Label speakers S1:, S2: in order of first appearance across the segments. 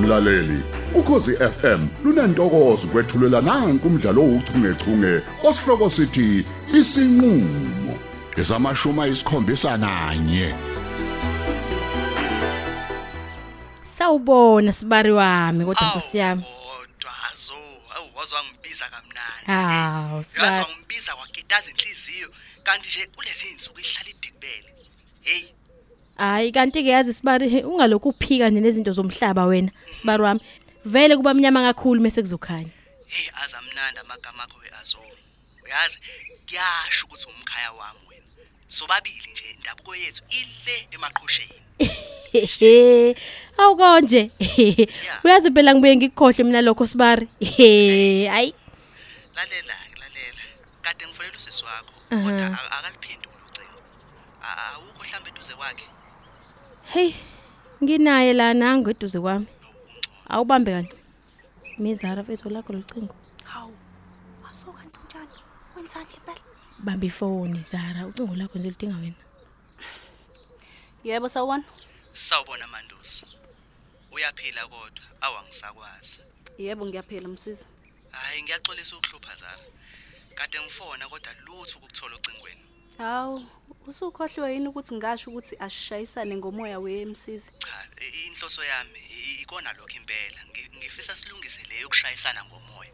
S1: mlaleli ukhosi FM lunantokozo kwethulela nange umdlalo ouchungechunge osihloko sithi isinqulo esamashuma isikhombisa nanye
S2: Sawubona sibari wami kodwa Nkosi yami.
S3: Kodwa hazo, awu wazwa ngibiza kamnandi.
S2: Ah, Hawu, sibari.
S3: Wazwa ngibiza wagidaza inhliziyo kanti nje kulezi insuku ihlala idikibele. Hey,
S2: Hayi kanti ke yazi sibari he, ungalokhu uphika nje nezinto zomhlaba wena sibari wami. Vele kuba mnyama kakhulu mse kuzokhanya.
S3: hey azamnanda amagama akho eazo. Uyazi kuyasho ukuthi umkhaya wami wena. Sobabili nje indabuko yethu ile emaqhosheni.
S2: Awu konje. Uyazi phela ngibuye ngikukhohle mina lokho sibari. Hayi.
S3: Lalela ke lalela. Kade ngifonela usisi wakho
S2: Aha.
S3: kodwa a- akaliphenduli ucingo. A- Awukho mhlambe eduze kwakhe.
S2: Hey. Nginaye la nangu eduze kwami. Awubambe kanti. Mizara fethu lakho locingo.
S4: Hawu. Aso kanti njani? Wenzani impela?
S2: Bamba ifoni Zara ucingo lakho nje lidinga wena.
S4: Yebo sawubona.
S3: Sawubona Mandusi. Uyaphila kodwa awangisakwazi.
S4: Yebo ngiyaphela msisi.
S3: Hayi ngiyaxolisa ukuhlupha zala. Kade ngifona kodwa lutho ukuthola ocingweni.
S4: Hawu, usukhohlwe yini ukuthi ngasho ukuthi ashayisane ngomoya weMsisi?
S3: Cha, i- inhloso yami i- ikona lokho impela. Ngi- Ngifisa silungise leyo kushayisana ngomoya.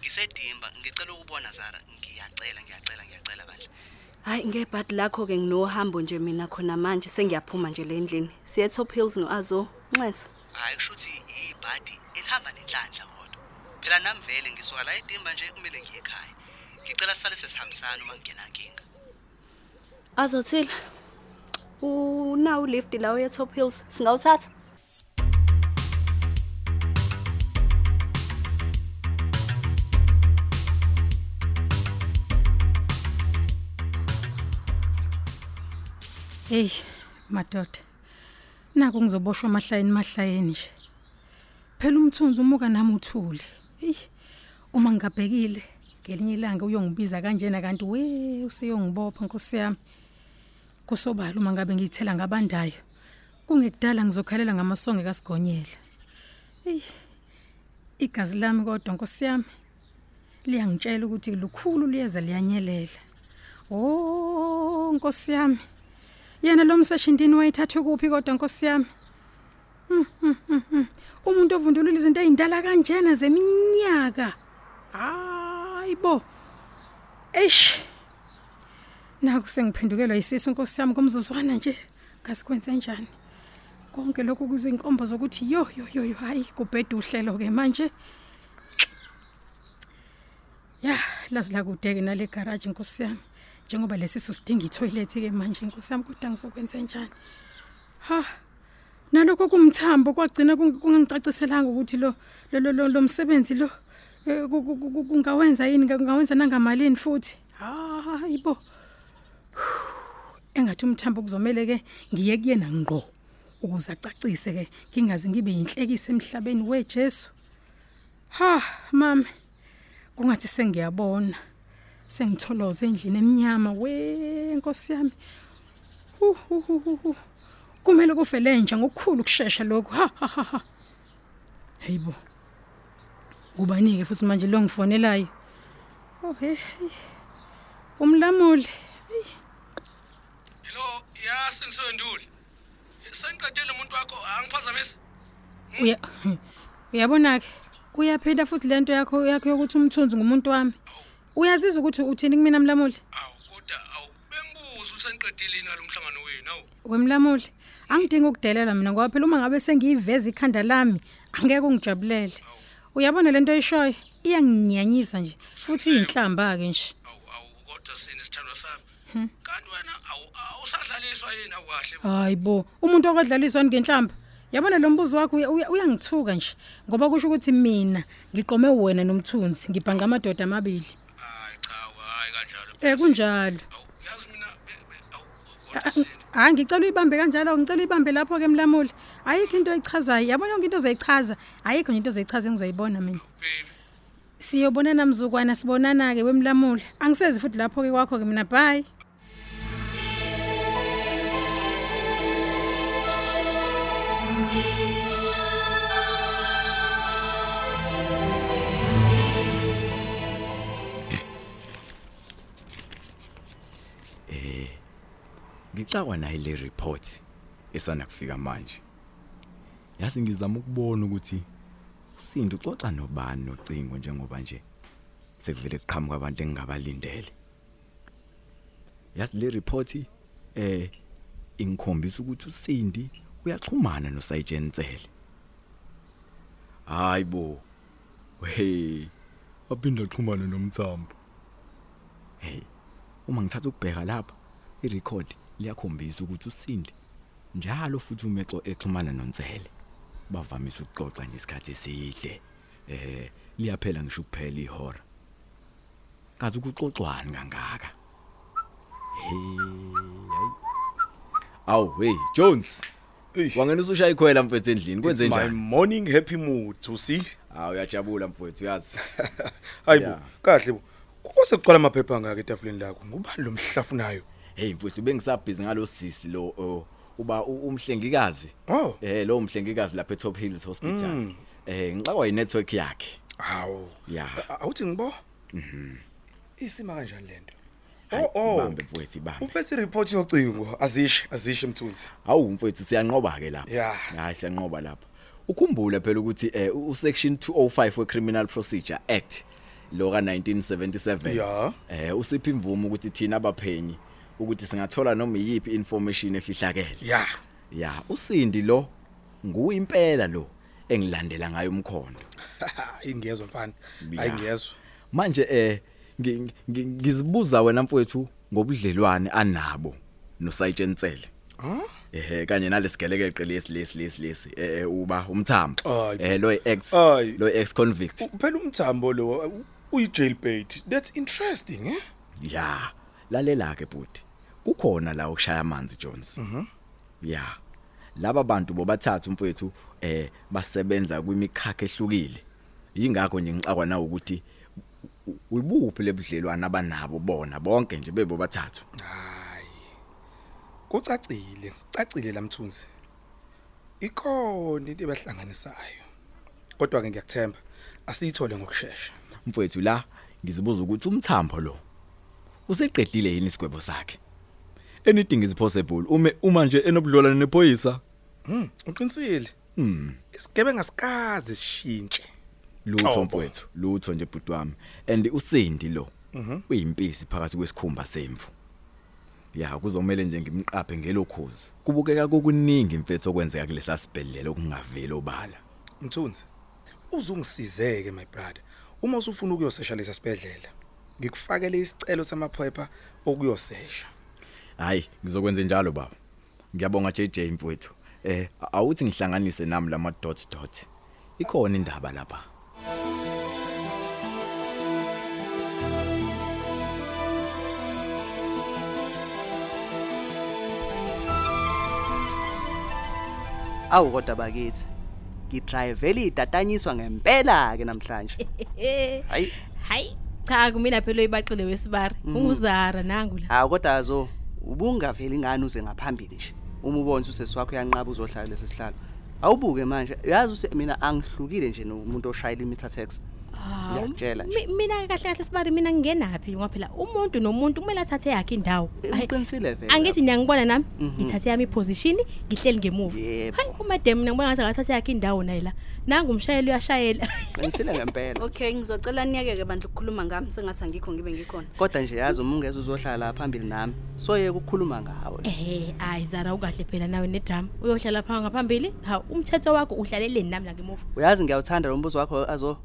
S3: Ngisedimba, ngicela ukubona Zara. Ngiyacela, ngiyacela, ngiyacela bandla.
S4: Hayi ngebhadi lakho ke nginohambo nje mina khona manje sengiyaphuma nje le ndlini. Siya Top Hills noAzo. Nxese.
S3: Hayi kushuthi ibhadi elihamba nenhlanhla kodwa. Phela nami vele ngisuka la edimba nje kumele ngiye ekhaya. Ngicela sisale sesihambisana uma ngingena inkinga.
S4: Azothila. Unawu lift la uya Top Hills. Singawuthatha?
S5: Hey, madoda. Naku ngizoboshwa amahlayeni mahlayeni nje. Phela umthunzi umuka nami uthuli. Hey. Uma ngigabhekile ngelinye ilanga uyongibiza kanjena kanti we useyongibopha nkosi yami. Kusobala uma ngabe ngiyithela ngabandayo. Kungekudala ngizokhalela ngamasonge kasigonyela. Hey. Igazi lami kodwa nkosi yami. Liyangitshela ukuthi lukhulu liyeza liyanyelela. Oh, nkosi yami. Yena lo mseshintini wayithathwe kuphi kodwa Nkosi yami? Hmm, hmm, hmm, hmm. Umuntu ovundulula izinto ezindala kanjena zeminyaka. Hayibo. Eish. Naku sengiphendukelwa yisisi Nkosi yami kumzuzwana nje. Ngasikwenze njani? Konke lokhu kuzinkomba zokuthi yo yo yo yo, hayi kubheda uhlelo ke manje. Ya, lazila kudeke nale garage Nkosi yami. Njengoba lesisu sidinga i-toilet ke manje Nkosi yami kodwa ngizokwenza njani? Ha. Nalokho kumthambo kwagcina kung- kungangicaciselanga ukuthi lo lo lo- lo lomsebenzi lo eh, ku- ku- ku- ku- kungawenza yini kungawenza nangamalini futhi. Hayibo. Engathi umthambo kuzomela ke ngiye kuyena ngqo ukuze acacise ke ngingaze ngibe inhlekise emhlabeni weJesu. Ha, mama. kungathi sengiyabona sengitholoze endlini eminyama we Nkosi yami Hu, hu, hu, hu, hu. kumele kuvele nje ngokukhulu kusheshsha lokho ha ha ha, ha heyibo kubanike futhi manje lo ngifonelayo oh hey hey. umlamuli Hey,
S6: Hello, ya sensondule. Sengiqedile umuntu wakho, angiphazamisi.
S5: uya uyabona ke uyaphenda futhi lento yakho yakho yokuthi umthunzi ngumuntu wami uyazizwa ukuthi uthini kumina mlamuli
S6: Awu kodwa awu bengibuza usengiqedile nalo umhlangano wenu, awu.
S5: Wemlamuli, angidingi ukudelela mina ngoba phela uma ngabe sengiyiveza ikhanda lami, angeke ungijabulele. Uyabona lento eyishoyo, iyanginyanyisa nje, futhi inhlamba ke nje.
S6: Awu awu kodwa sini sithandwa
S5: Hmm.
S6: sami. Kanti wena awu awusadlaliswa yini awukahle.
S5: Ah. Hayibo, umuntu okodlaliswa ngenhlamba. Yabona lo mbuzo wakho uya- uya- uyangithuka nje, ngoba kusho ukuthi mina ngiqome wena nomthunzi, ngibhanga amadoda amabili.
S6: Hayi cha, awu, hayi kanjalo.
S5: Eh kunjalo.
S6: Awu yazi mina be- be- awu
S5: Ah,
S6: kodwa sini.
S5: Hayi ngicela uyibambe kanjalo, ngicela uyibambe lapho ke mlamuli. Ayikho into oyichazayo. Yabona yonke into ozoyichaza, ayikho nje into ozoyichaza engizoyibona mina.
S6: Baby,
S5: Siyobonana mzukwana sibonana ke wemlamuli. Angisezi futhi lapho ke kwakho ke mina bye.
S7: eh ngicakwa nayo le report esana kufika manje yazi ngizama ukubona ukuthi usindo uxoxa nobani nocingo njengoba nje sekuvele kuqhamuka abantu engingabalindele yazi le report eh ingikhombisa ukuthi uSindi uyaxhumana noSajentsele hayibo hey
S8: aphinda axhumane nomthambo
S7: hey uma ngithatha ukubheka lapha irecord liyakhombisa ukuthi uSindi njalo futhi umexo exhumana noNtsele bavamise ukuxoxa nje isikhathi eside eh liyaphela ngisho kuphela ihora kazi ukuxoxwani kangaka hey hayi awu hey Jones
S9: Eish.
S7: wangena usushaya ikhwela mfethu endlini kwenze
S9: my
S7: njani
S9: morning happy mood you see
S7: hawu uyajabula mfethu uyazi
S9: hayibo
S7: Yeah.
S9: kahle bo kuse kuqala amaphepha ngaka etafuleni lakho ngubani lo mhlafunayo
S7: hey mfethu bengisabhizi ngalosisi lo oh, uba u- umhlengikazi
S9: Oh.
S7: eh lo umhlengikazi lapha eTop Hills Hospital
S9: Mm.
S7: eh ngixakwa yinetwork yakhe
S9: hawu
S7: Yeah.
S9: A- awuthi ngibo isima kanjani lento
S7: Hayi,
S9: oh oh
S7: ibambe mfethu ibambe
S9: uphethe ireport yocingo azishe azishe mthunzi
S7: hawu mfethu siyanqoba ke lapha
S9: Yeah.
S7: hayi siyanqoba lapha ukhumbule phela ukuthi eh u section 205 we criminal procedure act lo ka 1977
S9: Yeah.
S7: eh usipha imvumo ukuthi thina abaphenyi ukuthi singathola noma yipi information efihlakele
S9: ya
S7: ya usindi lo nguwe impela lo engilandela ngayo umkhondo
S9: ingiyezwa mfana
S7: Yeah.
S9: ayingiyezwa
S7: manje eh ngi- ngi- ngizibuza wena mfowethu ngobudlelwane anabo nosayentsele ehe kanye nalesigelekeqe lesi lesi lesi lesi eh eh, uba umthambo
S9: Ayi.
S7: eh lo ex
S9: Ayi.
S7: lo ex convict
S9: uphela umthambo lo uh, uyi jailbait that's interesting eh
S7: ya lalela ke buti kukhona la ukushaya amanzi Jones mhm ya laba bantu bobathathu mfowethu eh basebenza kwimikhakha ehlukile yingakho nje ngixakwa na ukuthi u- u- ubuphi lebudlelwana abanabo bona bonke nje bebo bathathu
S9: hayi kucacile kucacile lamthunzi ikhona into ebahlanganisayo kodwa ke ngiyakuthemba asiyithole ngokusheshsha
S7: mfowethu la ngizibuza ukuthi umthambo lo useqedile yini isigwebo sakhe anything is possible uma uma nje enobudlolwane nephoyisa
S9: hm uqinisile
S10: Hmm.
S9: hm isigebenga ngasikazi sishintshe
S7: lutho
S9: Nhlobo.
S7: mfowethu lutho nje bhuti wami and usindi lo uyimpisi phakathi kwesikhumba semvu ya kuzomela nje ngimqaphe ngelokhozi kubukeka kokuningi mfethu okwenzeka kulesa sibhedlela okungaveli obala
S9: mthunzi uzungisizeke my brother uma usufuna ukuyosesha lesa sibedlela ngikufakele isicelo samaphepha okuyosesha
S7: hayi ngizokwenza njalo baba ngiyabonga JJ mfowethu eh a- awuthi ngihlanganise nami lama dots dot ikhona indaba lapha
S3: awu kodwa bakithi ngidrivele idatanyiswa ngempela ke namhlanje hayi
S2: hayi cha kumina phela oyibaxile wesibari unguzara nangu la
S3: hawo kodwa azo ubungaveli ngani uze ngaphambili nje uma ubona usesi wakho uyanqaba uzohlala lesi sihlalo awubuke manje uyazi use mina angihlukile nje nomuntu oshayela imitha tax
S2: Hawu,
S3: ngiyakutshela nje.
S2: mi- mina kahle kahle sibari mina ngingenaphi ngophela umuntu nomuntu kumele athathe yakhe indawo Hayi,
S3: uqinisile vele
S2: angithi niyangibona nami ngithathe yami iposition ngihleli ngemuva
S3: Yebo.
S2: hayi umadam mina ngibona ngathi akathathe yakhe indawo naye la nangu umshayeli uyashayela
S3: qinisile ngempela
S4: okay ngizocela niyeke-ke bandla ukukhuluma ngami sengathi angikho ngibe ngikhona
S3: kodwa nje yazi uma ungeza uzohlala phambili nami soye ukukhuluma ngawe
S2: ehe hayi zara ukahle phela nawe nedrama uyohlala phaa ngaphambili hawu umthetho wakho uhlaleleni nami la ngemuva
S3: uyazi ngiyawuthanda lo mbuzo wakho azo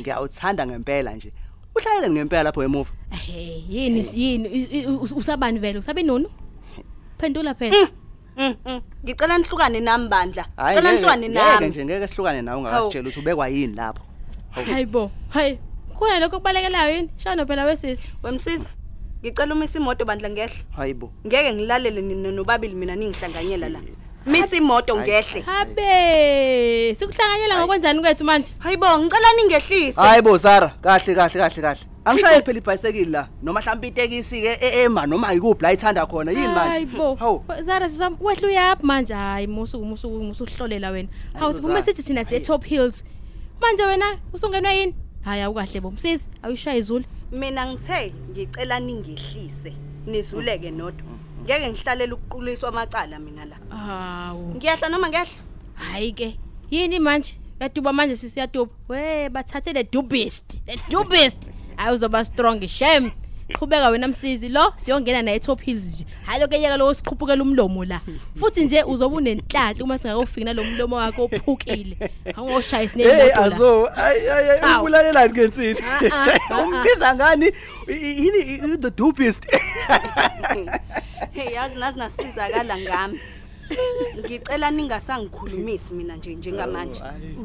S3: ngiyawuthanda ngempela nje uhlalele ngempela lapho emuva
S2: ehe yini yini i- i- us- usabani vele usabe nonu phendula phela
S4: Mm, mm. ngicela nihlukane nami bandla
S3: Hhayi,
S4: cela
S3: ngeke-
S4: nihlukane
S3: ngeke
S4: nami
S3: nje ngeke sihlukane nawe ungakasitshela ukuthi ubekwa yini lapho
S2: hayi bo hayi khona lokho kubalekelayo yini shano phela wesisi
S4: wemsiza ngicela umisa imoto bandla ngehla
S3: hayibo
S4: ngeke ngilalele nina nobabili mina ningihlanganyela la misa imoto ngehle
S2: habe sikuhlanganyela ngokwenzani kwethu manje
S4: hayibo ngicela ningehlise
S3: hayibo sara kahle kahle kahle kahle angishayeli phela ibhayisekili la noma mhlawumbe itekisi-ke e- ema noma yikuphi la ithanda khona yini
S2: hayi
S3: manje
S2: bo
S3: hawu
S2: zara sisam wehle uyaphi manje hayi musukuhlolela wena hawu
S3: bo,
S2: sibume
S3: Zara.
S2: sithi thina siye-top hills manje wena usungenwa yini hhayi awukahle bo msizi awuyishaye izulu
S4: mina ngithe ngicela ningehlise nizuleke nodwa ngeke ngihlalela ukuquliswa amacala mina la
S2: hawu
S4: ngiyahla noma ngehla
S2: hayi ke yini manje yaduba manje sisiyaduba we bathathe the dubist the dubist hayi uzoba strong shem qhubeka wena msizi lo siyongena naye top hills nje halo ke yeka lo siqhubukela umlomo la futhi nje uzoba unenhlanhla uma singakofiki nalomlomo wakho ophukile awungoshaya
S7: Hey
S2: sinemoto la
S7: azo ay ay ay,
S2: Awu.
S7: ukulalelani ke nsini?
S2: Ah, ah, ah, ah.
S7: Umbiza ngani? I- i- Yini i- i- the dopest?
S4: hey yazi nazi nasizakala ngami ngicela ningasangikhulumisi mina nje njengamanje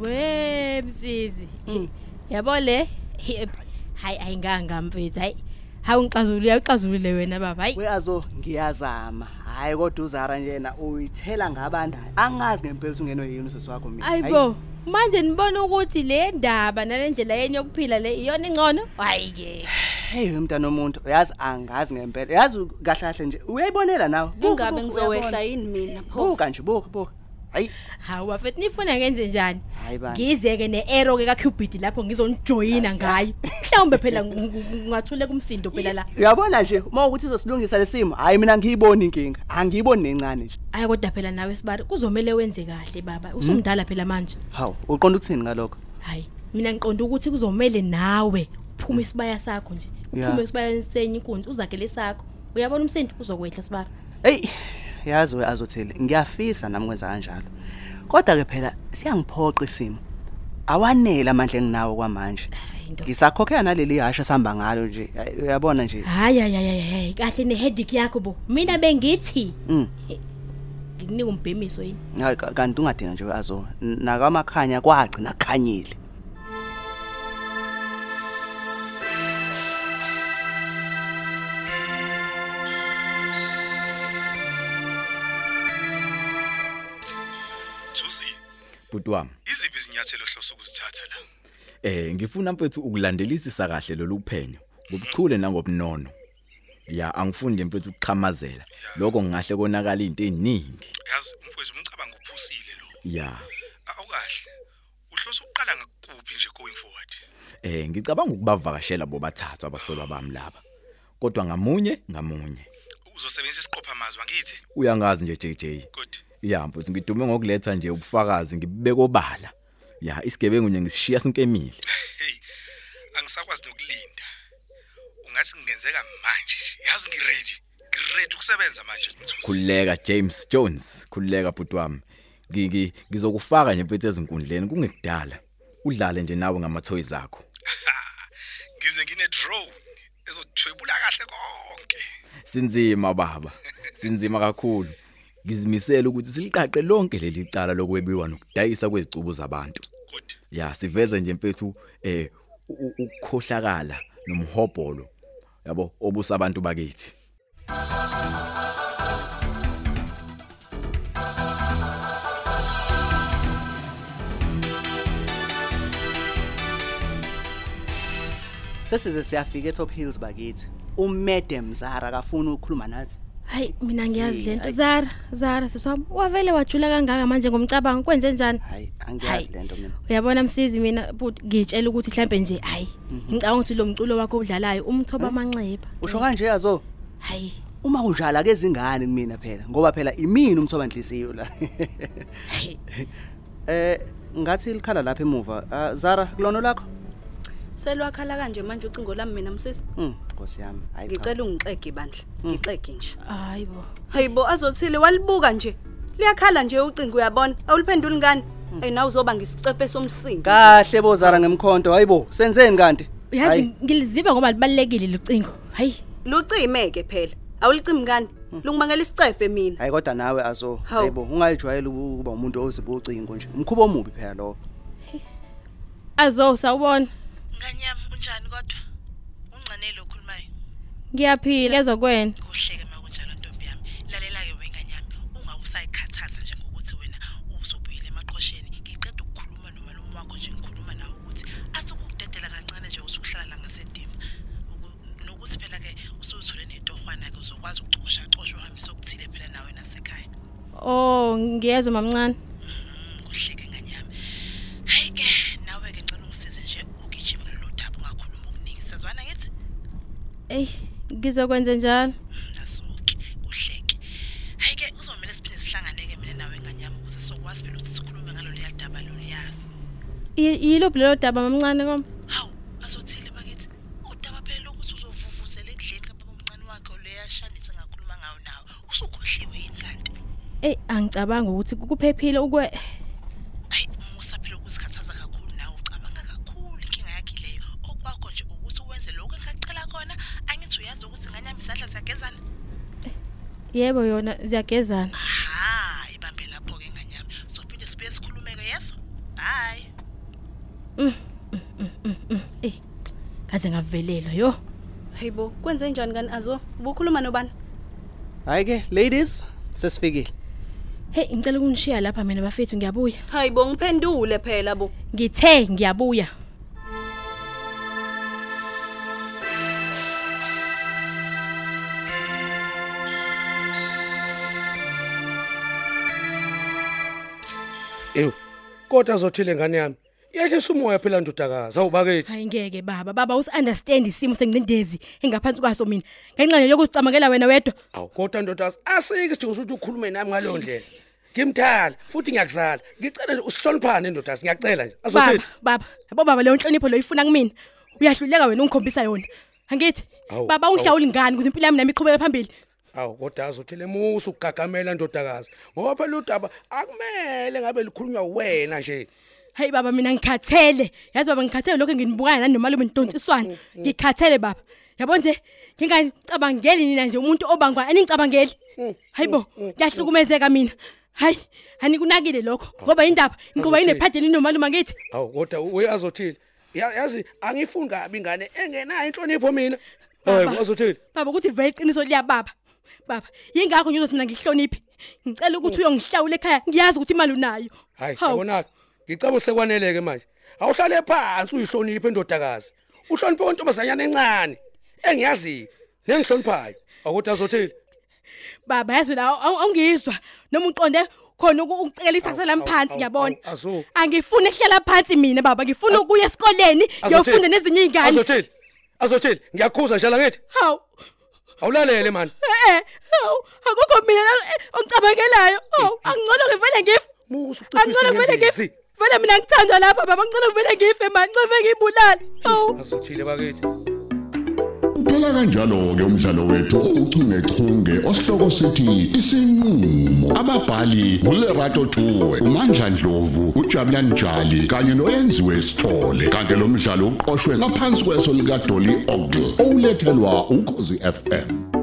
S2: we msizi Eh, yabo le Yep. hayi ayinganga mfethu hayi hayi ungixazulule uyaqazulule wena baba hayi
S3: weyazo ngiyazama hhayi kodwa uzara njena uyithela ngabantu hhayi angazi ngempela ukuthi ungenwe yini usesi wakho mina Hhayi,
S2: ayibo manje nibona ukuthi le ndaba nale ndlela yeni yokuphila le iyona ingcono hayi-ke
S3: heyi we mntana omuntu uyazi angazi ngempela yazi u- kahle kahle nje uyayibonela nawe Buka,
S4: ingabe
S3: buka,
S4: ngizowehla
S3: uyabona.
S4: yini mina pho
S3: buka nje buka buka hayi
S2: hawu bafethu nifuna ngenze njani
S3: hayi bani
S2: ngize-ke ne-ero-ke kacubid lapho ngizonijoyina ngayo mhlawumbe phela ngingathuleka umsindo phela la
S3: uyabona nje uma ukuthi izosilungisa le simo hhayi mina ngiyiboni inkinga angiyiboni nencane nje
S2: ayi kodwa phela nawe sibari kuzomele wenze kahle
S3: Hmm?
S2: baba usumdala phela manje
S3: hawu uqonda ukuthini ngalokho
S2: hayi mina ngiqonda ukuthi kuzomele nawe uphume isibaya sakho nje
S3: Ya.
S2: uphume esibayeni senye inkunzi uzagele sakho uyabona umsindo uzokwehla sibara
S3: eyi yazi we azotheli ngiyafisa nami kwenza kanjalo kodwa-ke phela siyangiphoqa isimo awanele amandla enginawo kwamanje
S2: hayi nto
S3: ngisakhokhela naleli hasha sihamba ngalo nje Ay, uyabona nje
S2: hayi hayi hayi hayi, hayi kahle neheadic yakho bo mina bengithi
S3: Mm.
S2: ngikunika umbhemiso yini
S3: Hayi, ka- kanti ungadina nje azo nakamakhanya kwagcina kukhanyile
S11: Thusi,
S7: Bhuti wami,
S11: iziphi izinyathelo ohlose ukuzithatha la?
S7: eh ngifuna mfethu ukulandelisisa kahle lolu phenyo ngobuchule nangobunono. Ya angifundi mfethu ukuqhamazela. Lokho ngingahle konakala izinto eziningi.
S11: Yazi mfowethu umcabango uphusile lo.
S7: Ya.
S11: Awukahle. Uhlose ukuqala ngakuphi nje going forward?
S7: Eh ngicabanga ukubavakashela bobathathu abasolwa bami laba. Kodwa ngamunye ngamunye.
S11: Uzosebenzisa isiqopha mazwi ngithi.
S7: Uyangazi nje JJ.
S11: Good.
S7: Ya mfuthu ngidume ngokuletha nje ubufakazi ngibekobala. Ya isigebengu nje ngisishiya sinkemile.
S11: Hey. Angisakwazi nokulinda. Ungathi kungenzeka manje. nje. Yazi ngiready. Ngiready ukusebenza manje Mthusi.
S7: Khulileka James Jones, khulileka bhuti wami. Ngiki ngizokufaka nje mfuthu ezinkundleni kungekudala. Udlale nje nawe ngamathoyi zakho.
S11: Ha, Ngize ngine drone ezothwebula kahle konke.
S7: Sinzima baba. Sinzima kakhulu. Ngizimisela ukuthi siliqaqe lonke leli cala lokwebiwa nokudayisa kwezicubu zabantu.
S11: Good.
S7: Ya siveze nje mfethu eh u- u- ukukhohlakala nomhobholo yabo obusabantu bakithi.
S3: sesize siyafika etop hills bakithi umadam zara kafuni ukukhuluma nathi
S2: hayi mina ngiyazi
S3: Eh,
S2: le nto
S3: hayi.
S2: zara zara siswami wavele wajula kangaka manje ngomcabango kwenze njani
S3: hayi angiyazi
S2: Hayi.
S3: le nto mina
S2: uyabona msizi mina but ngitshela ukuthi mhlampe nje hayi
S3: Mhm.
S2: ngicabanga ukuthi lo mculo wakho odlalayo umthoba amanxeba
S3: Hm? usho kanje yazo
S2: hayi
S3: uma kunjalo ake zingane kumina phela ngoba phela imini umthoba nhliziyo la eh ngathi likhala lapha emuva Ah, zara kulono lakho
S4: selwakhala kanje manje ucingo lami mina msisi
S3: Mm, nkosi yami Hayi cha.
S4: ngicela ungixege bandla ngixege nje
S2: hayi bo
S4: hayibo azothile walibuka nje liyakhala nje ucingo uyabona awuliphenduli ngani hey nawe uzoba ngisicefe somsinga
S3: kahle bozara ngemkhonto hayibo senzeni kanti
S2: uyazi
S3: Hayi,
S2: ngiliziba ngoba libalulekile lucingo hayi
S4: lucime-ke phela awulicimi ngani lungibangela isicefe mina
S3: hayi kodwa nawe azo
S4: Hawu.
S3: hayibo ungayijwayeli ukuba umuntu ozibe ucingo nje umkhuba omubi phela lowo
S2: azo sawubona
S12: Nganyami unjani kodwa? Ungcane lo khulumayo.
S2: ngiyaphila ezwa kwena
S12: Kuhleke makunjalo ntombi yami. Lalela ke wenganyami, ungawusayikhathaza njengokuthi wena uzobuyela emaqxosheni. Ngiqeda ukukhuluma nomalume wakho nje ngikhuluma nawe ukuthi asukudedela kancane nje usuhlala la ngasedimba. Uku- Nokuthi phela ke usuthule netohwana ke uzokwazi ukucosha cosha uhambise okuthile phela nawe nasekhaya.
S2: oh ngiyezwa mamncane
S12: Mm, kuhleke nganyami hayi ke nawe ke ngicela ungisize nje ugijima kulolu daba ungakhuluma okuningi sazwana ngithi
S2: eyi ngizokwenze njalo
S12: Mm,
S2: Y- yilo blelo daba mamncane kwami
S12: azothile bakithi udaba phela lokuthi uzovuvuzela endlini kapha omncane wakhe leyashanisa ngakhuluma ngayo nawe usukhohliwe yini kanti
S2: eyi angicabanga ukuthi ku- kuphephile ukwe
S12: hayi musa phela ukuzikhathaza kakhulu nawe ucabanga kakhulu inkinga yakhe leyo okwakho nje ukuthi uwenze lokhu engacela kona angithi uyazi ukuthi nganyama izandla ziyagezana
S2: yebo yona ziyagezana
S12: hayi bambe lapho-ke nganyama sophinde sibuye sikhulumeke yeso bye
S2: Mm, mm, mm, mm, mm. eyi ngaze ngavelelwa yo
S4: hayibo kwenze njani kani azo ubukhuluma nobani
S13: Hayi ke ladies, sesifikile.
S2: heyi ngicela ukungishiya lapha mina bafethu ngiyabuya
S4: hayibo ngiphendule phela bo
S2: ngithe ngiyabuya
S10: Ew. Kodwa azothile ngane yami. Iyahlisa umoya phela ndodakazi. Awubakethi.
S2: hayi ngeke baba baba usi-understand isimo senginendezi engaphansi kwaso mina ngenxa yokuzicamakela wena wedwa
S10: Awu kodwa ndodakazi asike sidingo ukuthi ukhulume nami ngalo ndlela. Ngimthala futhi ngiyakuzala. Ngicela nje usihloniphane ndodakazi. Ngiyacela nje.
S2: baba
S10: Azothile.
S2: baba yabo baba leyo nhlonipho leyo ifuna kumina uyahluleka wena ungikhombisa yona angithi
S10: Awu,
S2: baba
S10: awu.
S2: ungihlawula ingane ukuze impilo yami nami iqhubeke phambili
S10: Awu kodwa azothile musu ukugagamela ndodakazi. Ngoba phela udaba akumele ngabe likhulunywa uwena nje.
S2: hayi baba mina ngikhathele yazi baba ngikhathele lokho nginibukana nani nomalume nidontsiswana ngikhathele baba yabo nje ngingacabangeli nina nje umuntu obangwa aningicabangeli hayi bo ngiyahlukumezeka mina hayi anikunakile lokho ngoba indaba ngiqhuba
S10: Azothini?
S2: inephadi elinomalume angithi
S10: Awu kodwa uyazothile. Yazi angifuni kabi ingane engenayo inhlonipho mina. Hayi azothile.
S2: baba ukuthi vele iqiniso liyababa baba yingakho ngizothi mina ngihloniphe ngicela ukuthi uyongihlawula ekhaya ngiyazi ukuthi imali unayo
S10: Hayi,
S2: Hawu.
S10: yabonaka. Ngicabanga sekwaneleke manje. Awuhlale phansi uyihloniphe indodakazi. Uhloniphe intombazanyana encane engiyaziyo nengihloniphayo. Akuthi azothini?
S2: baba yazi la awu- awungizwa noma uqonde khona uku- ukucekela isasa lami
S10: awu,
S2: phansi
S10: awu,
S2: ngiyabona
S10: awu, azo.
S2: angifuni ehlala phansi mina baba ngifuna ukuya esikoleni
S10: Azothini?
S2: ngiyofunda nezinye iy'ngane
S10: Azothini? Azothini? Ngiyakhuza njalo ngithi.
S2: Hawu.
S10: Awulalele man.
S2: e-e hawu akukho mina la- eh, ongicabangelayo hawu angcono ngivele ngife angcono ngivele ngife vele mina ngithandwa lapha baba ngicela ngivele ngife mani ncove ngiyibulale hawu
S10: Azothile bakithi.
S1: Uphela kanjalo ke umdlalo wethu uchungechunge osihloko sithi isinqulo ababhali ngulerato tuwe uMandla Dlovu uJabulani Njali kanye noyenziwe Sithole kanti lo mdlalo uqoqwwe ngaphansi kweso lika Dolly Ogle owulethelwa ukhozi FM